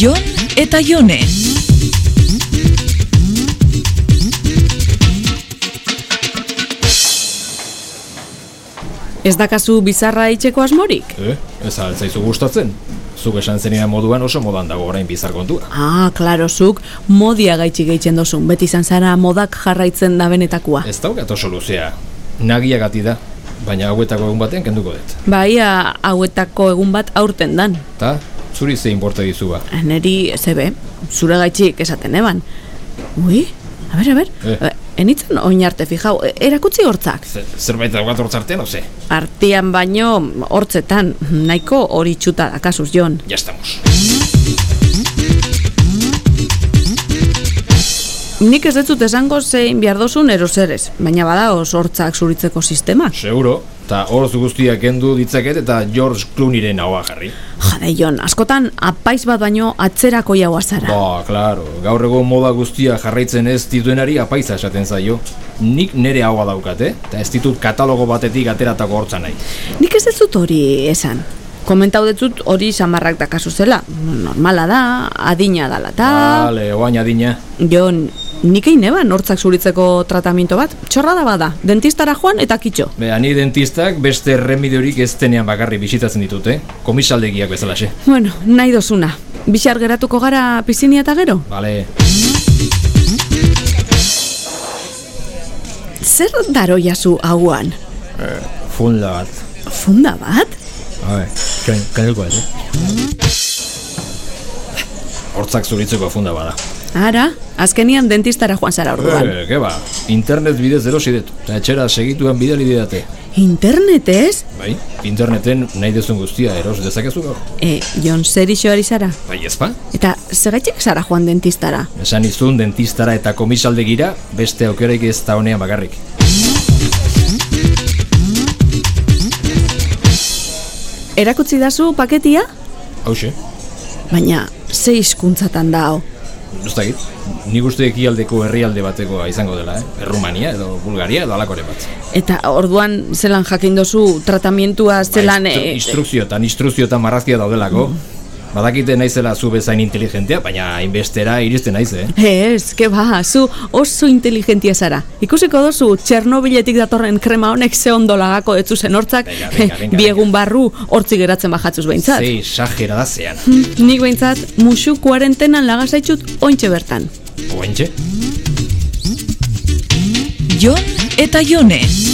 Jon eta Jone. Ez dakazu bizarra itxeko asmorik? Eh, ez altzaizu gustatzen. Zuk esan zenidan moduan oso modan dago orain bizar kontua. Ah, klaro, zuk modia gaitxik gehitzen dozun, beti izan zara modak jarraitzen da benetakoa. Ez daukat oso luzea. Nagia gati da, baina hauetako egun batean kenduko dut. Baia Bai, hauetako egun bat aurten dan. Ta, zuri ze inporta dizu ba. Eh, Neri, zebe, zure gaitxik esaten eban. Ui, a ber, a ber, Eh. eh. enitzen oin arte fijau, e- erakutsi hortzak. Ze- zerbait daukat hortzartean, oze? Artian baino hortzetan, nahiko hori txuta dakasuz, Jon. Ja estamos. Nik ez dut esango zein behar dozun erozerez, baina bada os hortzak zuritzeko sistema. Seguro, eta horz guztiak kendu ditzaket eta George Clooneyren ahoa jarri. Jade, Jon, askotan apaiz bat baino atzerako jaua zara. Ba, klaro, gaur egun moda guztia jarraitzen ez dituenari apaiza esaten zaio. Nik nere haua daukat, eh? Eta ez ditut katalogo batetik ateratako hortza nahi. Nik ez dut hori esan. Komentau dezut hori samarrak dakazu zela. Normala da, adina dala eta... Bale, oain adina. Jon, nik egin eban hortzak zuritzeko trataminto bat? Txorra da bada, dentistara joan eta kitxo. Bea, ni dentistak beste remediorik ez denean bakarri bisitatzen ditute, komisaldegiak bezalaxe. Bueno, nahi dozuna. Bixar geratuko gara pizinia eta gero? Bale, Zer daroia zu hauan? funda bat. Funda bat? Habe, kain, kainelko bat, eh? Hortzak zuritzeko funda bada. Ara, azkenian dentistara joan zara orduan. Eh, ke ba, internet bidez erosi dut, eta etxera segituan bidali didate. Internetez? Bai, interneten nahi duzun guztia eros dezakezu gaur. E, Jon, zer iso ari zara? Bai, ez ba? Eta zergatik zara joan dentistara? Esan izun dentistara eta komisaldegira beste aukeraik ez da honean bakarrik. Erakutsi dazu paketia? Hauxe, Baina, ze hizkuntzatan da hau? ez dakit, nik uste ekialdeko herrialde batekoa izango dela, eh? Errumania edo Bulgaria edo alakore bat. Eta orduan zelan jakin dozu tratamientua zelan... Ba, instru- e, Instrukziotan, instrukziotan marrazkia daudelako. Badakite naizela zu bezain inteligentea, baina inbestera iristen naiz, eh? Ez, ke ba, zu oso inteligentia zara. Ikusiko dozu Txernobiletik datorren krema honek ze ondo lagako etzu zen hortzak, Venga, venga, venga, bi egun barru hortzi geratzen bajatzuz behintzat. Ze exagera da zean. Hmm, Nik behintzat, musu kuarentenan lagasaitxut ointxe bertan. Oentxe? Jon eta Jone.